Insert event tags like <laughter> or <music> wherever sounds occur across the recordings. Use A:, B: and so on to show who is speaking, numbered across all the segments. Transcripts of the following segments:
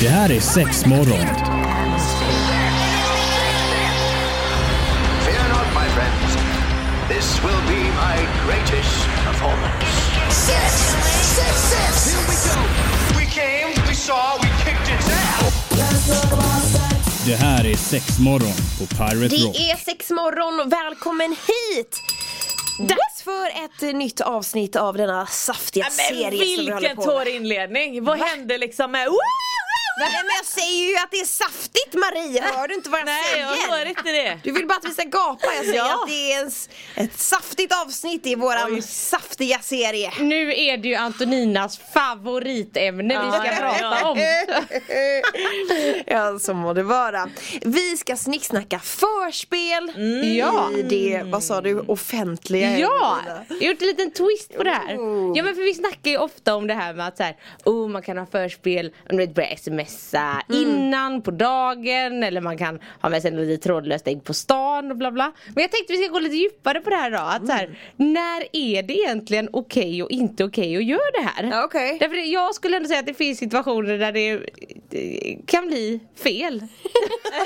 A: Det här är sex morgon.
B: Fear not, my friends. This will be my greatest performance.
C: Six, six, six. Here we go.
B: We came, we saw, we kicked its ass.
A: Det här är sex morgon på Pirate Rock.
D: Det är sex morgon och välkommen hit! Dags för ett eh, nytt avsnitt av denna saftiga
E: Men
D: serie som vi håller
E: vilken
D: på med.
E: torr inledning! Vad hände liksom med... Woo!
D: Nej, men jag säger ju att det är saftigt Maria, hör du inte vad jag
E: Nej, jag
D: säger?
E: hör inte det.
D: Du vill bara att vi ska gapa, jag säger
E: Ja.
D: att det är en, s- ett saftigt avsnitt i våran saftiga serie.
F: Nu är det ju Antoninas favoritämne vi ska
E: Ja, ja, ja.
F: prata om.
D: <laughs> ja, så må det vara. Vi ska snicksnacka förspel
E: Mm.
F: Ja.
D: i det, vad sa du, offentliga
F: Ja,
D: Evelina.
F: jag har gjort en liten twist på det här.
D: Oh.
F: Ja men för vi snackar ju ofta om det här med att så här, oh, man kan ha förspel, om du vet, börja smsa
E: Mm.
F: innan på dagen eller man kan ha med sig en liten trådlöst ägg på stan och bla bla. Men jag tänkte vi ska gå lite djupare på det här då. Att så
D: Mm.
F: här, när är det egentligen okej och inte okej att göra det här?
D: Ja, okej.
F: Därför det- jag skulle ändå säga att det finns situationer där det eh, kan bli fel.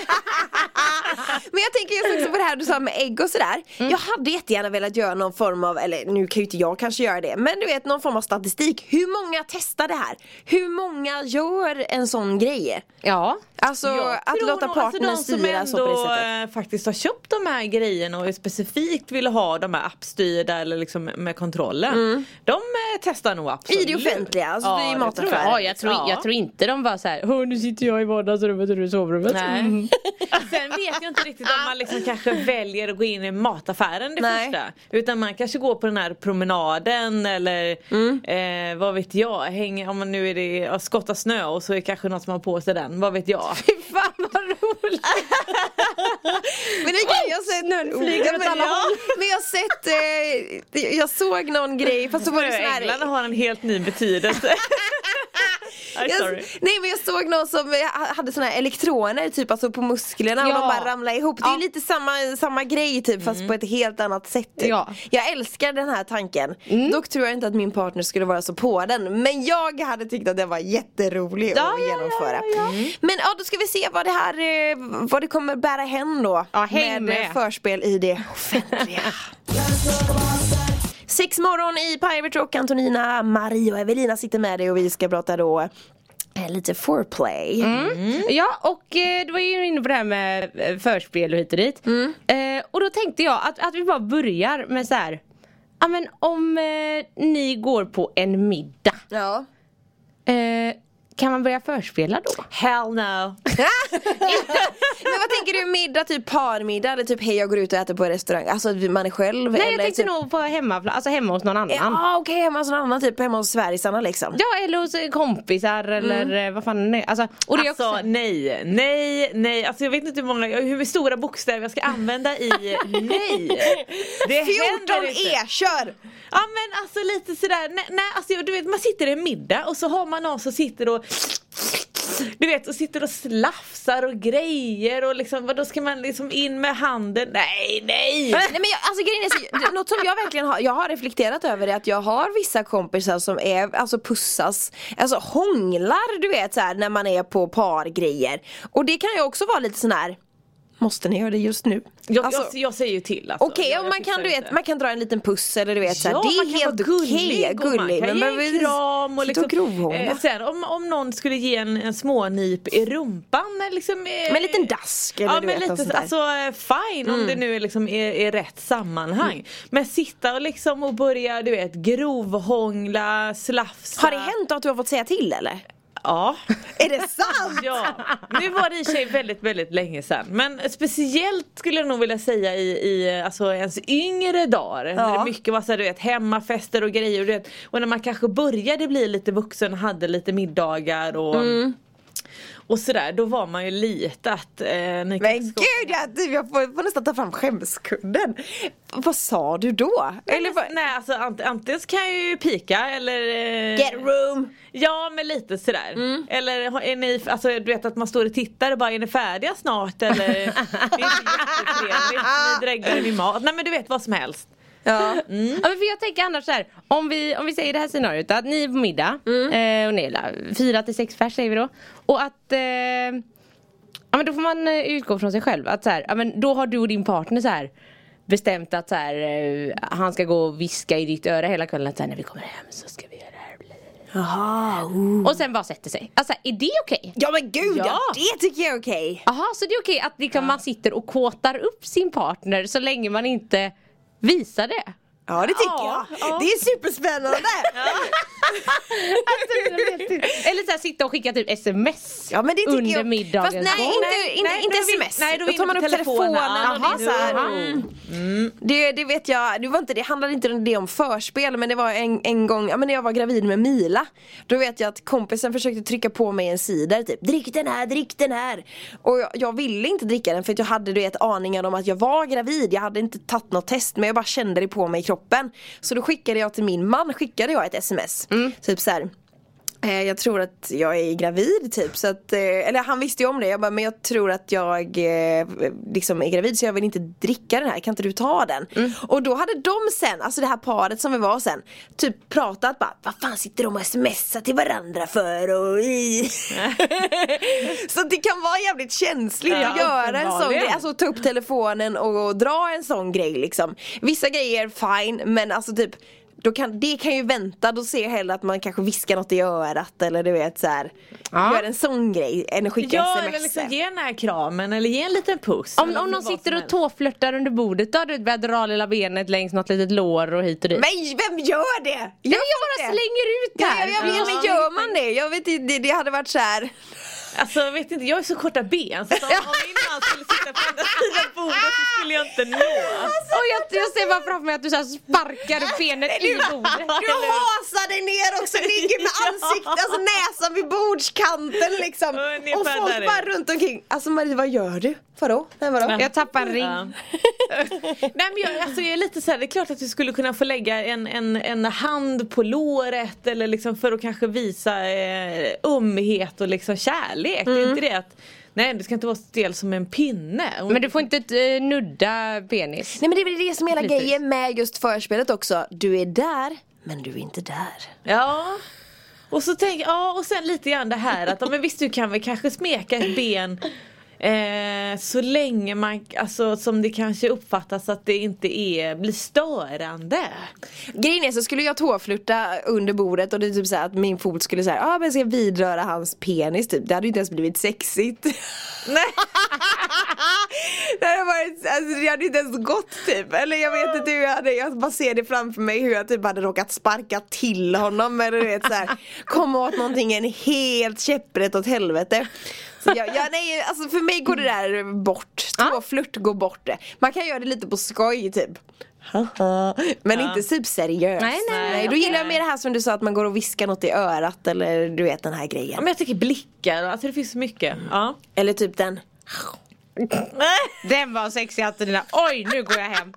D: Ah. Men jag tänker just också på det här du sa med ägg och sådär.
F: Mm.
D: Jag hade jättegärna velat göra någon form av, eller nu kan ju inte jag kanske göra det, men du vet någon form av statistik. Hur många testar det här? Hur många gör en sån grej?
F: <laughs> Ja.
D: Alltså att
E: tror
D: låta
E: nog- alltså,
D: partnern
E: de som
D: styra så på det
E: ändå,
F: <laughs>
D: sättet.
E: eh, faktiskt har köpt de här grejerna och specifikt vill ha de här appstyrda eller liksom med kontrollen. De eh, testar nog absolut.
D: Mm. I det offentliga, alltså det är ju
E: det tror
D: mataffärer.
F: Ja, jag tror, jag tror inte de bara såhär, hör nu sitter jag i vardagsrummet och du i sovrummet.
E: Nej.
F: Mm. <laughs>
E: Sen vet jag inte riktigt om man liksom
D: <laughs>
E: kanske väljer att gå in i mataffären det
D: Nej.
E: första. Utan man kanske går på den här promenaden eller
D: Mm.
E: eh, vad vet jag, häng, om man nu är det ja, skotta snö och så är det kanske någon som har på sig den, vad
D: <laughs>
E: vet jag.
F: Fan vad roligt!
D: Men det kan jag sett
F: Snön flyger åt
D: men,
F: alla håll.
D: men jag har sett, eh, jag såg någon grej fast så var det sån här
E: Änglarna har en helt ny <laughs> betydelse.
D: <laughs>
E: I'm
D: Jag,
E: sorry.
D: nej men jag såg någon som eh, ha- hade såna här elektroner typ alltså på musklerna och
F: Ja.
D: de bara ramlade ihop. Det är
F: Ja. Mm.
D: lite samma, samma grej typ fast på ett helt annat sätt. Typ.
F: Ja. Mm.
D: Jag älskar den här tanken. Dock tror jag inte att min partner skulle vara så på den. Men jag hade tyckt att den var jätterolig
F: Ja,
D: att
F: ja, ja,
D: genomföra.
F: ja.
D: Men ja, då ska vi se vad det här eh, vad det kommer bära hem då.
F: Ja, häng
D: eh,
F: med.
D: förspel i det
F: <laughs>
D: offentliga. Sex morgon i Pirate Rock, Antonina, Marie och Evelina sitter med dig och vi ska prata då eh, lite foreplay.
F: Mm. Ja och eh, du var ju inne på det här med eh, förspel och hit och dit. Eh, och då tänkte jag att, att vi bara börjar med så här. Ja men om eh, ni går på en middag.
D: Ja.
F: Eh, kan man börja förspela då?
E: Hell no.
D: <laughs> Men vad tänker du middag, typ parmiddag eller typ hej jag går ut och äter på restaurang? Alltså att man är själv
F: Nej
D: eller
F: jag tänkte
D: typ...
F: nog på hemmaplan, alltså hemma hos någon annan.
D: Ja okej, hemma hos någon annan typ, hemma hos Sverigesarna liksom.
F: Ja eller hos eh, kompisar
D: Mm.
F: eller eh, vad fan det är. Alltså, och det är
E: alltså
F: också,
E: nej, nej, nej. Alltså jag vet inte hur många, hur stora bokstäver jag ska använda i nej.
D: 14
E: Det händer inte.
D: E, kör!
E: Ja men alltså lite sådär, nej, nej alltså du vet man sitter i en middag och så har man någon som sitter och du vet och sitter och slafsar och grejer och liksom vadå ska man liksom in med handen? Nej nej!
D: Nej men jag, alltså grejen är så, något som jag verkligen har, jag har reflekterat över är att jag har vissa kompisar som är, alltså pussas, alltså hånglar du vet så här när man är på pargrejer. Och det kan ju också vara lite sån här, måste ni göra det just nu?
E: Jag,
D: Alltså,
E: jag, jag säger ju till alltså.
D: Okej,
E: Jag-
D: och
E: jag
D: man kan,
E: fixar
D: du
E: inte.
D: vet, man kan dra en liten puss eller du vet så här,
E: Ja,
D: det
E: man
D: är
E: kan
D: helt
E: vara
D: okej,
E: gullig, och
D: gullig
E: man kan
D: man
E: ge
D: behöver
E: en kram och
D: sitta
E: liksom,
D: grovhångla.
E: eh, sen, om, om någon skulle ge en, en smånip i rumpan eh, liksom, eh,
D: Med en liten dask eller
E: Ja
D: du
E: men
D: vet något sånt
E: lite,
D: där. Mm.
E: alltså eh, fine om det nu är liksom i, i rätt sammanhang Men sitta och liksom och börja du vet grovhångla, slafsa
D: Har det hänt att du har fått säga till eller?
E: Ja
D: Är det <laughs> sant?
E: Ja, nu var det i och för sig väldigt väldigt länge sedan Men speciellt skulle jag nog vilja säga i, i alltså ens yngre dagar När det mycket var så här, du vet hemmafester och grejer du vet, Och när man kanske började bli lite vuxen och hade lite middagar och
D: Mm.
E: Och sådär, då var man ju lite att eh, ni
D: Men gud, jag, jag får, får nästan ta fram skämskudden. Vad sa du då? Eller
E: Eller
D: vad?
E: vad- nej alltså ant- antingen så kan jag ju pika eller eh,
D: Get room!
E: Ja men lite sådär
F: Mm.
E: Eller har- är ni, alltså du vet att man står och tittar och bara är ni färdiga
F: <laughs>
E: snart eller Det är inte jättetrevligt, ni dreglar i min mat Nej men du vet vad som helst
F: Ja. men för jag tänker annars så här, om vi, om vi säger det här scenariot att ni är på middag
D: Mm.
F: eh, och ni är där, fyra till sex pers säger vi då. Och att eh, ja, men då får man eh, utgå från sig själv att så här, ja, men då har du och din partner så här bestämt att så här, eh, han ska gå och viska i ditt öra hela kvällen att så här, när vi kommer hem så ska vi göra det här.
D: Jaha, uh.
F: Och sen bara sätter sig. Alltså är det okej?
D: Ja men gud ja.
F: Ja.
D: det tycker jag är okej.
F: Jaha, så det är okej att liksom man sitter och kåtar upp sin partner så länge man inte
D: <laughs>
F: visar det?
D: Ja det tycker
E: Ja,
D: jag.
E: ja.
D: Det är superspännande. Ja,
F: Alltså, jag vet inte. Eller så här, sitta och skicka typ sms
D: men det tycker
F: under
D: jag.
F: middagens
D: Fast nej,
F: gång.
D: inte, inte,
E: nej,
D: inte
E: då vill-
D: sms.
E: nej, då
D: då
E: vill
D: tar man upp
E: inte
D: telefonen.
E: telefonen.
D: och
F: Jaha,
D: det, är så här.
F: jaha.
E: Mm.
D: Det, det vet jag, det, var inte, det handlade inte om det om förspel men det var en, en gång, ja, men när jag var gravid med Mila Då vet jag att kompisen försökte trycka på mig en cider typ Drick den här, drick den här Och jag, jag ville inte dricka den för att jag hade du vet aningar om att jag var gravid Jag hade inte tagit något test men jag bara kände det på mig i kroppen Så då skickade jag till min man, skickade jag ett sms
E: Mm.
D: Typ så här. Eh, Jag tror att jag är gravid typ så att, eh, eller han visste ju om det, jag bara men jag tror att jag eh, liksom är gravid så jag vill inte dricka den här, kan inte du ta den?
E: Mm.
D: Och då hade de sen, alltså det här paret som vi var sen, typ pratat bara vad fan sitter de och smsar till varandra för och i? <laughs> så det kan vara jävligt känsligt
E: Ja,
D: att göra en sån
E: uppenbarligen.
D: grej, alltså ta upp telefonen och, och dra en sån grej liksom Vissa grejer fine men alltså typ då kan, det kan ju vänta, då ser jag hellre att man kanske viskar något i örat eller du vet såhär
F: Ja.
D: Gör en sån grej än att skicka
E: Ja
D: sms
E: eller liksom ge den här kramen eller ge en liten puss.
F: Om,
E: eller
F: om någon
E: vad som
F: sitter och
E: helst.
F: tåflörtar under bordet då har du börjat dra lilla benet längs något litet lår och hit och dit.
D: Men vem gör det? Gör
F: Nej, men jag
D: folk
F: bara
D: det?
F: slänger ut det
D: Ja,
F: här!
D: jag, jag, vet, men gör man det? Jag vet inte, det, det hade varit såhär
E: Alltså jag vet inte, jag är så korta ben
F: <laughs>
E: så att om om min man skulle sitta på andra sidan bordet så skulle jag inte nå.
F: Och jag, jag ser bara framför mig att du så här sparkar upp benet i bordet.
D: <laughs> Du hasar dig ner också, ligger
F: <laughs>
D: med ansiktet, alltså näsan vid bordskanten liksom
E: Ungefär
D: Och
E: där
D: folk
E: är
D: bara
E: det.
D: runt omkring Alltså Marie vad gör du? Vadå? Nej, vadå?
F: Jag tappar en ring.
E: Ja. Nej men jag, alltså, jag är lite så här, det är klart att du skulle kunna få lägga en, en, en hand på låret eller liksom för att kanske visa eh, umhet och liksom kärlek. Det är inte det att, nej du ska inte vara stel som en pinne.
F: Mm. Men du får inte eh, nudda penis.
D: Nej men det är väl det som är hela
F: Precis.
D: grejen med just förspelet också Du är där, men du är inte där
E: Ja. Och så tänk, ja och sen lite grann det här att, ja, men visst du kan väl kanske smeka ett ben eh, så länge man, alltså som det kanske uppfattas att det inte är, blir störande.
D: Grejen är så skulle jag tåflirta under bordet och det är typ så här att min fot skulle säga ah, men jag ska vidröra hans penis typ Det hade ju inte ens blivit sexigt Nej <laughs> Det hade varit, alltså det hade ju inte ens gått typ Eller jag vet inte hur jag hade, jag bara ser det framför mig hur jag typ hade råkat sparka till honom eller du vet så här Komma åt någonting en helt käpprätt åt helvete så jag, jag, nej, alltså för mig går det där bort, tåflirt går bort det. Man kan göra det lite på skoj typ Haha. Men inte typ seriöst.
F: Nej, nej, nej,
D: då
F: okej.
D: gillar jag mer det här som du sa att man går och viskar något i örat eller du vet den här
E: Ja,
D: grejen.
E: men jag tycker blickar, alltså det finns så mycket. Ja.
D: Eller typ den.
F: Den var sexig Antonina. Oj, nu går jag
E: <laughs>
F: hem.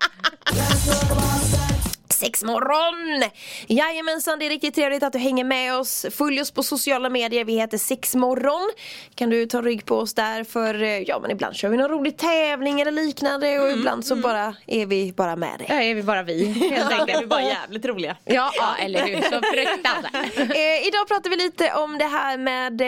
D: Sexmorgon! Jajamensan, det är riktigt trevligt att du hänger med oss. Följ oss på sociala medier, vi heter Sexmorgon. Kan du ta rygg på oss där för eh, ja men ibland kör vi någon rolig tävling eller liknande
F: Mm,
D: och ibland så bara är vi bara med
F: <laughs>
D: dig.
F: Där är vi bara vi. Helt
E: Helt
F: enkelt.
D: <laughs>
E: enkelt, vi är bara jävligt roliga.
F: Ja, ja, eller hur. Så fruktansvärt.
D: Eh, idag pratar vi lite om det här med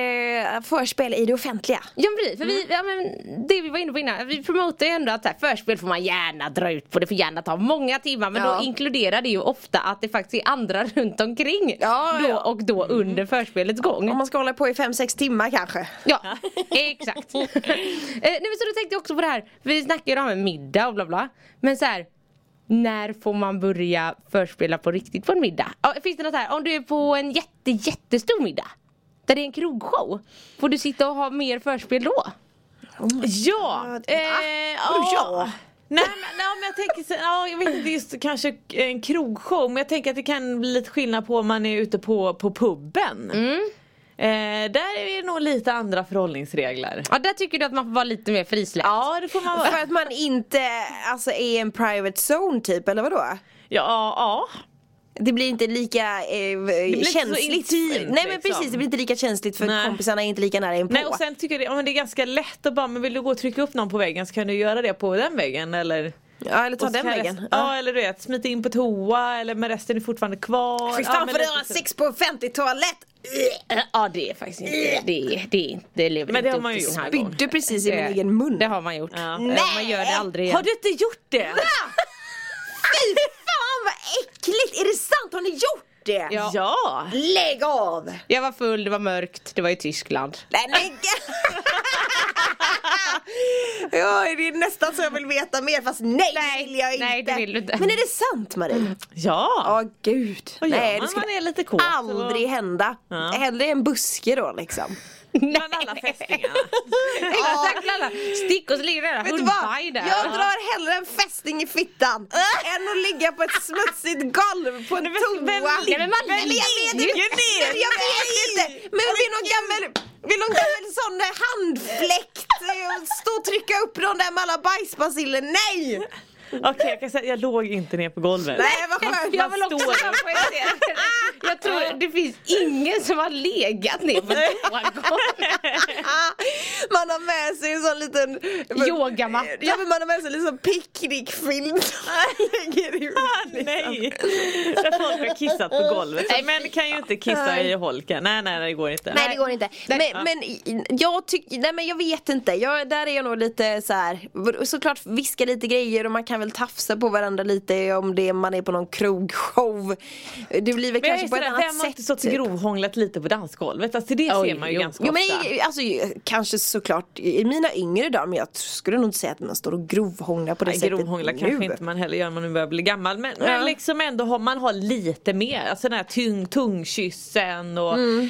D: eh, förspel i det offentliga.
F: Ja men precis, för
D: Mm.
F: vi, ja, men det vi var inne på innan, vi promotar ju ändå att så här, förspel får man gärna dra ut på, det får gärna ta många timmar men
D: Ja.
F: då inkluderar det ju ofta att det faktiskt är andra <laughs> runt omkring
D: Ja,
F: då
D: ja. Mm.
F: och då under förspelets gång.
D: Om man ska hålla på i 5-6 timmar kanske.
F: Ja, <laughs> exakt. eh, nej, men så då tänkte jag också på det här, vi snackar ju om en middag och bla bla. Men så här, när får man börja förspela på riktigt på en middag? Ja, Finns det något här, om du är på en jätte, jättestor middag, där det är en krogshow, får du sitta och ha mer förspel då?
E: Ja!
D: Ja,
E: Eh,
D: vadå ja?
E: ja. Nej men, nej men jag tänker så, ja, jag vet inte just kanske en krogshow men jag tänker att det kan bli lite skillnad på om man är ute på, på puben. Eh, där är det nog lite andra förhållningsregler.
F: Ja, där tycker du att man får vara lite mer frisläppt.
E: Ja det får man vara.
D: För att man inte alltså, är en private zone typ eller vadå?
E: <laughs> Ja, ja.
D: Det blir inte lika eh,
E: inte så
D: känsligt.
E: intimt,
D: Nej men
E: liksom.
D: precis, det blir inte lika känsligt för
E: Nej.
D: kompisarna är inte lika nära inpå.
E: Nej och sen tycker jag det, ja, men det är ganska lätt att bara men vill du gå och trycka upp någon på väggen så kan du göra det på den väggen eller
D: Ja, eller ta
E: Och så
D: den
E: kan
D: vägen.
E: rest-
D: Ja.
E: Ja eller du vet, smita in på toa eller men resten är fortfarande kvar.
D: Fy
E: Ja,
D: fan
E: men
D: för
E: lite
D: att ha
E: så.
D: sex på offentlig toalett!
F: Ja det är faktiskt inte, det, är- det, är inte, det lever
E: Men
F: inte
E: det har
F: upp
E: man
F: till
E: ju
F: sin
E: gjort.
F: jargong.
D: Spydde precis i min
F: Det-
D: egen mun.
F: Det har man gjort. Eh,
E: Ja.
F: Man gör det aldrig igen.
E: Har du inte gjort det?
D: Fy fan vad äckligt! Är det sant? Har ni gjort det?
F: Ja.
E: Ja!
D: Lägg av!
F: Jag var full, det var mörkt, det var i <laughs> Tyskland.
D: Nej, lägg <laughs> Ja, det är nästan så jag vill veta mer fast nej,
F: Nej,
D: det vill jag inte.
F: nej, det vill du inte.
D: Men är det sant Marie?
E: Ja!
D: Ja, gud.
E: Vad gör
D: nej, det
E: man?
D: skulle
E: Man är lite kåt.
D: aldrig hända.
E: Ja.
D: Hellre en buske då liksom.
E: Bland
D: <laughs>
E: alla fästingarna.
F: <laughs> Exakt, alla stick och så ligger det där
D: Vet du vad?
F: hundpaj där.
D: Jag drar hellre en fästing i fittan än att ligga på ett smutsigt golv på en
E: Men vem-
D: toa.
E: vem ligger-
F: Nej, men man
D: jag vet
F: ligger ju
D: inte.
E: ner.
D: typ Jag vet inte. Men vill någon gammal, vill någon gammal sån där handfläkt eh, stå och trycka upp dem där med alla bajsbaciller? Nej!
E: Okej jag kan säga, jag låg inte ner på golvet.
D: Nej vad skönt.
F: Jag vill också
E: står upp.
F: poängtera det. <laughs> Jag tror det finns ingen som har legat ner <laughs>
D: <laughs>
F: på toagolvet.
D: Ah, Man har med sig en sån liten
F: Yogamatta.
D: Ja men man har med sig en liten picknickfilt Lägger ut.
E: Ah, nej! Där folk har kissat på golvet. Så män kan ju inte kissa i holken. Nej, nej, nej det går inte.
D: Nej det går inte. Men, men i- jag tycker, nej men jag vet inte. Jag, där är jag nog lite så här. såklart viska lite grejer och man kan väl tafsa på varandra lite om det man är på någon krogshow. Det blir väl
E: Men jag
D: kanske
E: är
D: på ett
E: sådär,
D: annat
E: vem har inte
D: sätt. typ.
E: stått och grovhånglat lite på dansgolvet? Alltså det
F: Oj,
E: ser man ju
F: jo.
E: ganska
D: Jo men
E: ofta.
D: i- alltså ju- kanske såklart i i mina yngre dagar men jag t- skulle nog inte säga att man står och grovhånglar på det
E: Nej,
D: sättet
E: Grovhångla
D: nu.
E: kanske inte man heller gör när man nu börjar bli gammal men, men
D: Ja.
E: liksom ändå har man har lite mer, alltså den här tung, tungkyssen och
D: Mm.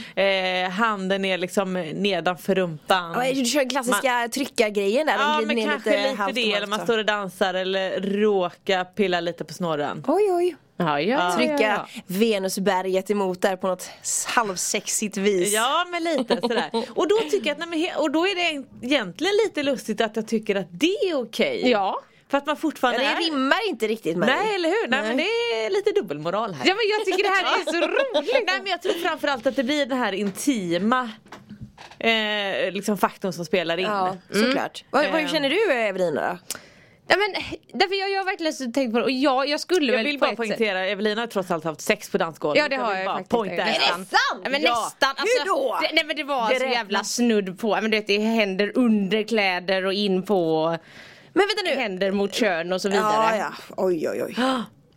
E: eh, handen är liksom nedanför rumpan.
D: Ja, Du kör den klassiska tryckargrejen där,
E: Ja
D: den glider
E: men
D: ner
E: kanske
D: lite
E: lite,
D: halvt om
E: det eller man
D: halvt,
E: står och dansar eller råkar pilla lite på snorren.
D: va? Oj oj,
F: Ja, ja,
D: trycka Venusberget emot där på något halvsexigt vis
E: Ja men lite sådär. Och då tycker jag att, nej, men, he- och då är det egentligen lite lustigt att jag tycker att det är okej.
F: Ja.
E: För att man
D: Ja,
E: fortfarande
D: det
E: är...
D: rimmar inte riktigt med
E: Nej eller hur, nej, men det
D: Nej.
E: är lite dubbelmoral här.
F: Ja men jag tycker det här <laughs> är så roligt.
E: Nej men jag tror framförallt att det blir den här intima eh, liksom faktorn som spelar in.
D: Ja, såklart. Vad, vad, hur
F: Eh,
E: Ehm.
D: känner du Evelina då?
F: Nej, men, därför jag, jag har verkligen så tänkt på det och jag, jag skulle
E: Jag
F: väl på
E: vill bara
F: ett sätt-
E: poängtera, Evelina har trots allt haft sex på dansgolvet.
F: Ja det har
E: vill
F: jag,
E: bara
F: faktiskt.
E: pointera
F: Är
E: detta.
F: Ja, men
E: Ja.
F: nästan. Alltså,
D: Hur då?
F: Det, nej men det var
E: Det
F: så
E: räknas.
F: jävla snudd på, men du vet det händer under kläder och in på
D: Men vänta nu!
F: händer mot kön och så vidare.
D: Ja, ja. Oj, oj, oj.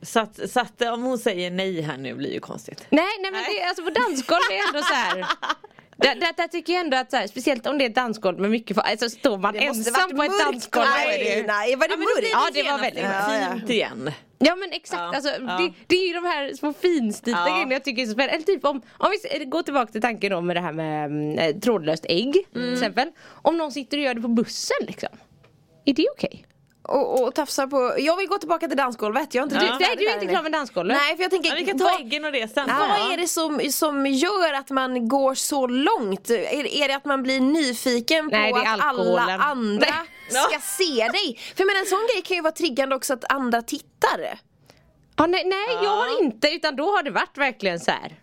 E: Så, att, så att eh, om hon säger nej här nu blir ju konstigt.
F: Nej, nej men Det, alltså på dansgolv är ändå
D: <laughs>
F: så här. Där, där, där tycker jag ändå att så här, speciellt om det är ett dansgolv med mycket folk, alltså står man
D: Det måste
F: ensam
D: varit
F: på ett
D: mörkt då,
F: dansgolv. är det ju-
D: Evelina. Var det
E: men då blir
D: mörkt?
F: Ja, det var
E: genast
F: väldigt
D: mörkt.
E: intimt igen.
F: Ja men exakt,
E: Ja,
F: alltså,
E: ja.
F: Det, det är ju de här små finstilta
E: Ja.
F: grejerna jag tycker är så spännande. Eller typ om, om vi s- går tillbaka till tanken om det här med mm, eh, trådlöst ägg till exempel. Om någon sitter och gör det på bussen liksom. Är det okej?
D: Och, och tafsar på... Jag vill gå tillbaka till dansgolvet. Jag har inte
E: Ja.
D: riktigt
F: Nej du är inte klar med dansgolvet?
D: Nej, för jag tänker...
E: Ja, vi kan ta
D: vad-
E: äggen och det sen.
D: Vad är det som, som gör att man går så långt? Är, är det att man blir nyfiken
F: Nej,
D: på
F: det är
D: att alla
F: alkoholen.
D: andra
E: Nej.
D: ska se dig? För men en sån grej kan ju vara triggande också att andra tittar.
F: Ja, nej, nej jag har inte utan då har det varit verkligen så här.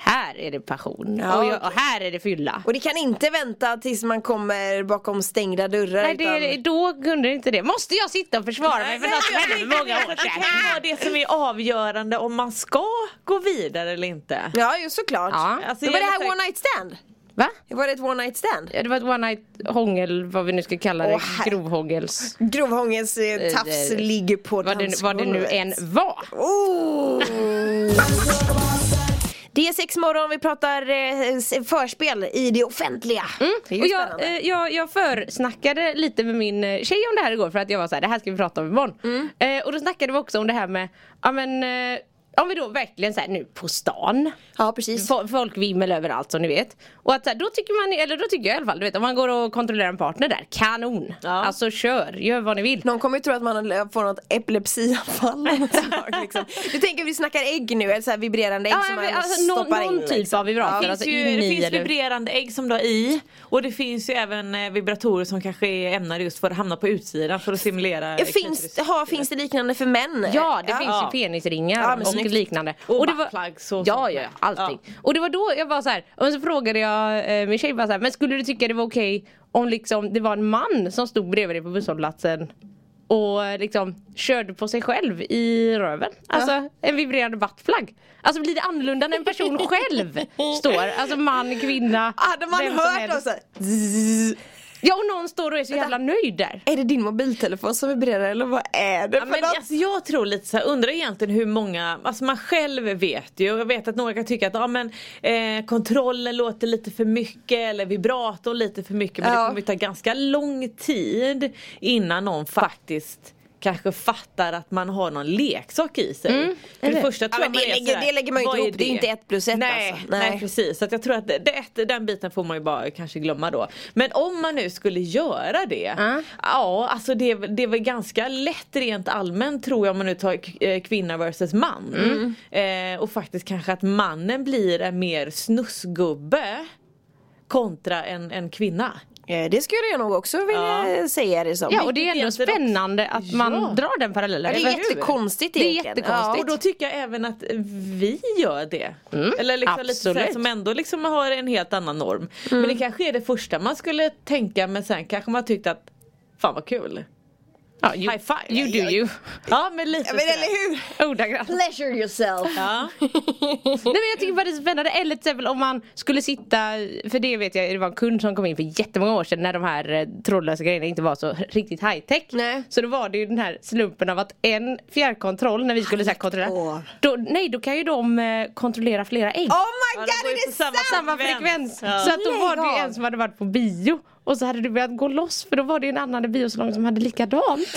F: Här är det passion
D: Ja,
F: och, jag, och här är det fylla.
D: Och det kan inte vänta tills man kommer bakom stängda dörrar.
F: Nej, det,
D: utan...
F: då kunde det inte det. Måste jag sitta och försvara mig för något som hände för många
E: <laughs>
F: år
E: Det kan
F: sedan?
E: ju vara det som är avgörande om man ska gå vidare eller inte.
D: Ja, ju såklart.
F: Ja.
E: Alltså,
D: Men var det
E: jag är
D: här
E: säker-
D: one night stand?
F: Va?
D: Var det ett one night stand?
F: Ja, det var ett one night hångel, vad vi nu ska kalla det,
D: Åh, herre-
F: grovhångels.
D: Grovhångens eh, tafs
F: det-
D: ligger på
F: Vad det, vad det nu
D: dansgolvet.
F: än var.
D: Oh. Det är sex morgon, vi pratar eh, s- förspel i det offentliga. Det är ju
F: Och jag,
D: spännande.
F: eh, jag, jag försnackade lite med min eh, tjej om det här igår för att jag var så här, det här ska vi prata om imorgon.
D: Mm.
F: Eh, och då snackade vi också om det här med, ja men eh, om vi då verkligen så här nu på stan.
D: ja, precis.
F: Fo- Folk vimmel överallt som ni vet. Och att så här, då tycker man, eller då tycker jag i alla fall, du vet om man går och kontrollerar en partner där, kanon!
E: Ja.
F: Alltså kör, gör vad ni vill.
D: Någon kommer ju tro att man har- får något
F: <laughs>
D: epilepsianfall av något slag, <laughs> liksom. Du tänker vi snackar ägg nu, eller så här vibrerande ägg
F: Ja,
D: som
F: men
D: man
F: alltså, någon
D: stoppar in.
F: någon typ
D: liksom.
F: av vibrator.
E: Det
F: alltså,
E: finns, ju,
F: in
E: det
F: i
E: finns
F: eller-
E: vibrerande ägg som du har i och det finns ju även eh, vibratorer som kanske är ämnade just för att hamna på utsidan för att simulera eh,
D: Finns,
E: klitoris.
D: ha, finns det liknande för män?
F: Eh, Ja det finns
E: Ja.
F: ju penisringar
D: Ja, men
F: och
D: snyggt.
F: liknande.
E: Och
F: det var,
E: buttplugs och
F: ja,
E: sånt
F: ja,
E: där.
F: allting. Och det var då jag var så här, och så frågade jag eh, min tjej bara så här, men skulle du tycka det var okej om liksom det var en man som stod bredvid dig på busshållplatsen och liksom körde på sig själv i röven. Alltså en vibrerande buttplug. Alltså blir det annorlunda när en <laughs> person själv står, alltså man, kvinna,
D: Hade man
F: vem som
D: hört
F: helst.
D: oss Zzz.
F: Ja och någon står och är så jävla nöjd där.
D: Är det din mobiltelefon som vibrerar eller vad är det
E: Ja,
D: för
E: men
D: något?
E: alltså, jag tror lite så här, undrar egentligen hur många, alltså man själv vet ju och jag vet att några kan tycka att ja, men, eh, kontrollen låter lite för mycket eller vibratorn lite för mycket men
D: Ja.
E: det kommer ju ta ganska lång tid innan någon faktiskt kanske fattar att man har någon leksak i sig.
F: Mm,
E: för det första tror
D: men
E: jag man
D: det
E: är
D: lägger-
E: sådär,
D: det lägger man ju inte
E: "Vad
D: ihop, det är ju inte ett plus ett,
E: nej,
D: alltså. Nej.
E: Nej. precis, så att jag tror att det, det, den biten får man ju bara kanske glömma då. Men om man nu skulle göra det,
F: Ja.
E: ja alltså det, är väl- det är väl ganska lätt rent allmänt tror jag om man nu tar k- eh, kvinna versus man.
D: Mm.
E: Eh, och faktiskt kanske att mannen blir en mer snusgubbe kontra en, en kvinna.
D: Eh, Det skulle jag nog också vilja säga det som.
F: Ja och det är
E: Vilket
F: ändå
E: egentligen också-
F: spännande att man
E: Ja.
F: drar den parallellen.
D: Ja, det
F: Eller
D: är
F: hur?
D: jättekonstigt
F: Det är
D: egentligen.
F: jättekonstigt.
E: Och då tycker jag även att vi gör det.
D: Mm,
E: Eller liksom lite så här,
F: absolut.
E: som ändå liksom har en helt annan norm. Men det
D: Mm.
E: kanske är det första man skulle tänka men sen kanske man tyckte att fan vad kul.
F: Ja, you,
E: High five.
F: You do you.
E: Ja men lite
D: Ja, men
E: sådär.
D: eller hur?
F: Ordagrant.
D: Pleasure yourself.
E: Ja.
F: Nej men jag tycker bara det är spännande. Eller till exempel om man skulle sitta, för det vet jag, det var en kund som kom in för jättemånga år sedan när de här eh, trådlösa grejerna inte var så riktigt high tech.
D: Nej.
F: Så då var det ju den här slumpen av att en fjärrkontroll när vi skulle så här, kontrollera.
D: Åh.
F: Då, nej då kan ju de eh, kontrollera flera ägg.
D: Oh my
E: Ja,
D: god
E: de går ju
D: är
E: på
D: det
E: samma
D: sant?
F: Samma
E: frekvens.
F: frekvens.
E: Ja.
F: Så att då
D: Lägg
F: var det ju
D: av.
F: en som hade varit på bio och så hade det börjat gå loss för då var det ju en annan biosalong som hade likadant.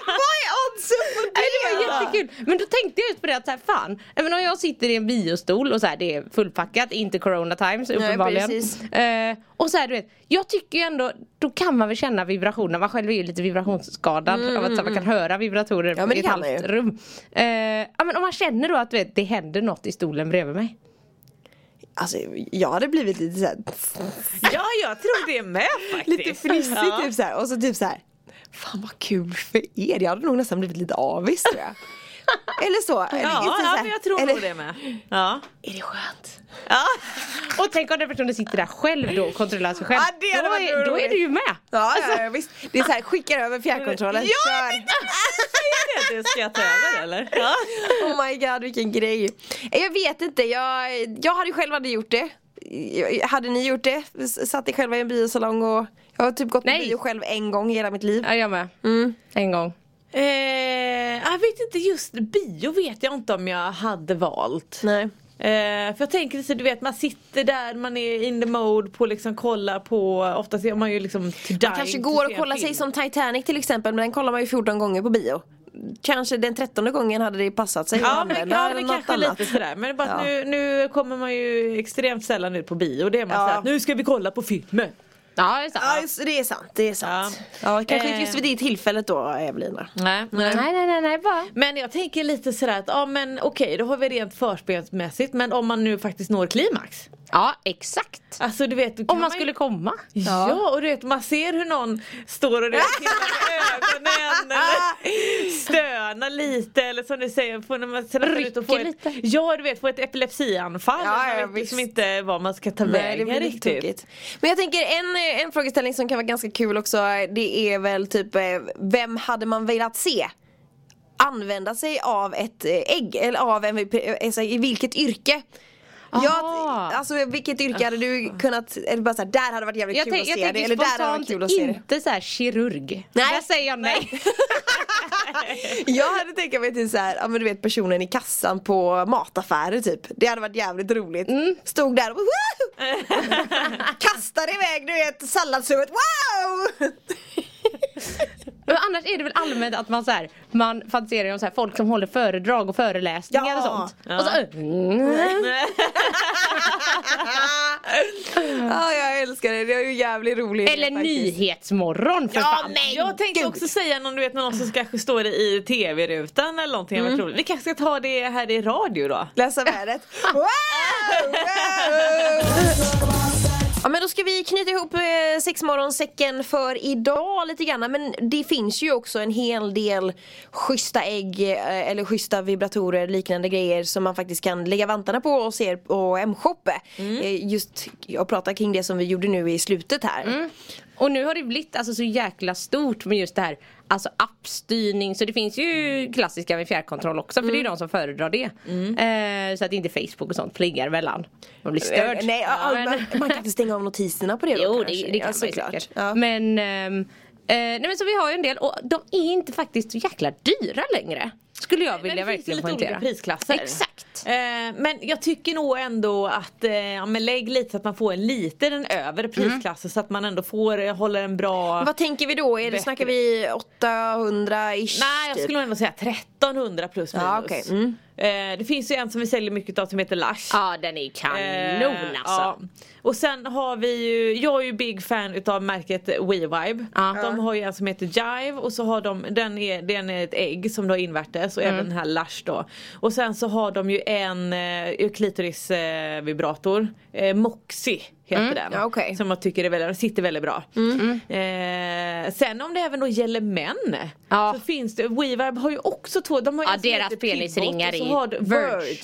D: Vad är oddsen på
F: Nej, det var
D: det?
F: jättekul. Men då tänkte jag ut på det att så här, fan, även om jag sitter i en biostol och så här, det är fullpackat, inte corona times uppenbarligen.
D: precis.
F: eh, och så här, du vet, jag tycker ju ändå, då kan man väl känna vibrationer, man själv är ju lite vibrationsskadad av att så här, man kan höra vibratorer
D: Mm. men
F: i
D: det
F: ett
D: kan man ju.
F: halvt rum. Eh, ja, men om man känner då att du vet, det händer något i stolen bredvid mig.
D: Alltså jag hade blivit lite såhär
E: ja jag tror det med faktiskt.
D: Lite fnissig typ såhär och så typ såhär Fan vad kul för er, jag hade nog nästan blivit lite avis tror jag Eller så, eller,
E: Ja,
D: inte så
E: ja
D: här,
E: men jag tror
D: eller,
E: nog det med. Ja.
D: Är det skönt?
E: Ja. <laughs>
F: Och tänk om den personen sitter där själv då och kontrollerar sig själv.
D: Ja, det hade
F: då,
D: varit
F: är, då är
D: roligt.
F: du ju med.
D: Ja,
E: Alltså-
D: ja, ja visst, det är såhär skickar över fjärrkontrollen, kör!
E: Är det det ska jag
D: <laughs>
E: ta över eller? Ja.
D: Oh my god vilken grej Jag vet inte, jag, jag hade själv hade gjort det Hade ni gjort det? S- Satt ni själva i en biosalong och Jag har typ gått på
F: Nej.
D: bio själv en gång i hela mitt liv
F: Ja, jag med.
D: Mm.
F: En gång.
E: Eh, jag vet inte just bio vet jag inte om jag hade valt.
D: Nej
E: Eh, för jag tänker så du vet man sitter där, man är in the mode på liksom kolla på, oftast är man ju liksom to die,
D: Man kanske
E: inte
D: går
E: se
D: och
E: en
D: kollar
E: film.
D: sig som Titanic till exempel men den kollar man ju 14 gånger på bio. Kanske den 13 gången hade det passat sig
E: Ja men, ja, men kanske lite sådär men det är bara att
D: Ja.
E: nu, nu kommer man ju extremt sällan ut på bio det är man
D: Ja.
E: såhär, nu ska vi kolla på filmen.
F: Ja, det är sant.
D: Ja just, det, det är sant, det är sant. Eh. Ja, kanske inte just vid det tillfället då Evelina.
E: Nej.
F: Nej, nej, nej, nej, bara.
E: Mm. Men jag tänker lite sådär att ja men okej då har vi rent förspelsmässigt men om man nu faktiskt når klimax.
F: Ja, exakt.
E: Alltså du vet. då kan
F: Om man
E: ju-
F: skulle komma.
E: Ja. och du vet man ser hur någon står och du vet, himlar med
D: <laughs> Ah.
E: ögonen eller stönar lite eller som du säger får när man sen när man
F: Rycker
E: ut och får
F: lite.
E: Ett, ja du vet får ett epilepsianfall.
D: Ja,
E: man
D: ja,
E: vet liksom
D: visst.
E: inte vad man ska ta
D: Nej, det
E: vägen
D: blir lite tokigt. Men jag tänker en, eh, en frågeställning som kan vara ganska kul också det är väl typ eh, vem hade man velat se? Använda sig av ett eh, ägg eller av en, eh, alltså, i vilket yrke? Jag,
F: Aha.
D: alltså vilket yrke hade du kunnat, eller bara så här, där hade det varit jävligt
F: Jag,
D: kul
F: tänk,
D: att
F: jag
D: se det
F: tänker
D: eller där hade det varit
F: spontant
D: kul att se det.
F: inte så här kirurg.
D: Nej.
F: Där säger
D: <laughs>
F: jag nej.
D: Jag hade tänkt mig till så här, ja men du vet personen i kassan på mataffärer typ. Det hade varit jävligt roligt. Stod där och bara, "Woo!" kastade iväg du vet salladshuvudet, wow!
F: Men annars är det väl allmänt att man så här, man fantiserar om så här, folk som håller föredrag och föreläsningar
D: Ja.
F: och sånt. Och så, mm.
D: Ja jag älskar det, det är ju jävligt roligt.
F: Eller
D: faktiskt.
F: nyhetsmorgon för fan.
E: jag tänkte
D: gud.
E: också säga någon du vet någon som kanske står i tv-rutan eller någonting. Mm. Vi kanske ska ta det här i radio då.
D: Läsa <laughs> vädret. Wow! Wow! Ja men då ska vi knyta ihop eh, sexmorgonsäcken för idag lite grann men det finns ju också en hel del schyssta ägg eh, eller schyssta vibratorer liknande grejer som man faktiskt kan lägga vantarna på och se
F: Mm. Mm,
D: på M-shoppe. Eh, Just jag pratar kring det som vi gjorde nu i slutet här.
F: Och nu har det blivit alltså, så jäkla stort med just det här Alltså appstyrning, så det finns ju klassiska med fjärrkontroll också för det är
D: Mm.
F: ju de som föredrar det. Eh, så att inte Facebook och sånt plingar emellan. Man blir störd.
D: Eh, Nej, ja,
F: Ja, men-
D: man, man kan inte stänga av notiserna på det då
F: Jo, det,
D: kanske.
F: det kan
D: Ja,
F: man
D: såklart.
F: ju säkert.
D: Ja.
F: Men, ehm, eh, nej, men så vi har ju en del och de är inte faktiskt så jäkla dyra längre. Skulle jag vilja
E: men det finns ju
F: verkligen
E: lite
F: poängtera.
E: olika prisklasser.
F: Exakt.
E: Eh, men jag tycker nog ändå att eh, ja, men lägg lite så att man får en liten övre prisklass så att man ändå får eh, hålla en bra
D: Vad tänker vi då? Är det,
E: Bättre.
D: snackar vi typ? 800-ish?
E: Nej jag skulle nog ändå säga 1300 plus minus.
D: Ja, okej. Mm.
E: eh, det finns ju en som vi säljer mycket av som heter Lush.
F: Ja den är ju kanon
E: Eh,
F: alltså.
E: ja. Och sen har vi ju, jag är ju big fan utav märket WeVibe.
F: Ja.
E: De har ju en som heter Jive och så har de, den är, den är ett ägg som du har invärtes och
F: Mm.
E: även den här Lush då. Och sen så har de ju en eh, klitoris eh, vibrator, eh, Moxie heter
F: Mm.
E: den.
D: ja, okej.
E: Som jag tycker är väldigt, sitter väldigt bra. Eh, sen om det även då gäller män
F: Ja.
E: så finns det, WeVibe har ju också två, de har ju
F: Ja,
E: en som
F: deras
E: heter
F: penisringar
E: Pivot
F: är
E: och så har de-
F: Verge.
E: Verge.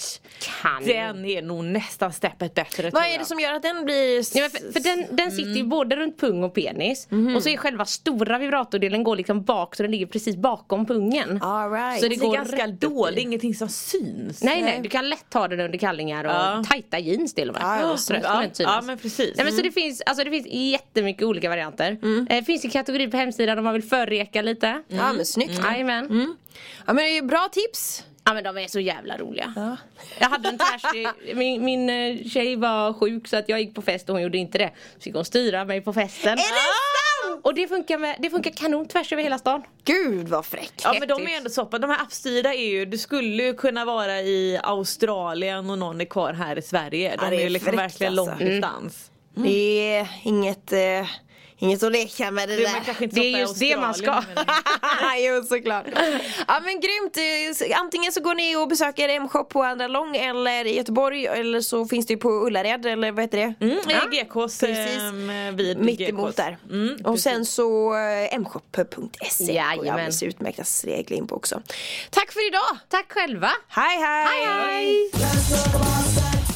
F: Kan.
E: Den är nog nästan steppet bättre
D: Vad
E: tror
D: är det
E: jag.
D: som gör att den blir... s-
F: Ja, men för, för den, den sitter ju både runt pung och penis och så är själva stora vibratordelen går liksom bak så den ligger precis bakom pungen.
D: All right.
F: Så det
E: Alltså, det
F: går
E: är ganska
F: rätt upp i.
E: dålig, ingenting som syns.
F: Nej nej, du kan lätt ta den under kallingar och
E: Ja.
F: tajta jeans till och med.
D: Ja, ja,
F: Så den skulle
E: ja,
F: inte synas.
E: ja, men precis. Mm.
F: Nej, men så
D: Mm.
F: det, finns, alltså, det finns jättemycket olika varianter. Eh, Det finns en kategori på hemsidan om man vill förreka lite. Mm.
D: Ja men snyggt.
F: Jajamän.
D: Mm. Ja men det är ju bra tips.
F: Ja men de är så jävla roliga. Jag hade
D: <laughs>
F: en tvärs, min, min eh, tjej var sjuk så att jag gick på fest och hon gjorde inte det. Så fick hon styra mig på festen. Är det sant? Och det funkar, med, det funkar kanon tvärs över hela stan.
D: Gud vad fräckt.
E: Ja men de
F: Häftigt.
E: är ändå så pass- de här appstyrda är ju, du skulle ju kunna vara i Australien och någon är kvar här i Sverige. De
D: Ja, det
E: är ju
D: är
E: liksom
D: fräckt,
E: verkligen
D: alltså.
E: långdistans.
D: Det är inget, eh, inget att leka med det,
E: Det, man
D: där.
E: kanske inte
F: Det
E: så
F: är
E: ofta i
F: just det man ska.
E: Australien,
D: <laughs>
E: men-
D: jo såklart. Ja men grymt. Eh, s- Antingen så går ni och besöker M-shop på Andra Lång eller i Göteborg eller så finns det ju på Ullared eller vad heter det?
E: Mm, ja, GKs
D: precis.
E: ehm, vid
D: Mitt
E: GKs.
D: emot där.
E: Mm,
D: och sen så eh, mshop.se går ju
F: Jajamän.
D: alldeles utmärkt att snegla in på också. Tack för idag!
F: Tack själva.
D: Hej hej!
F: Hej hej.
C: Let's talk about sex.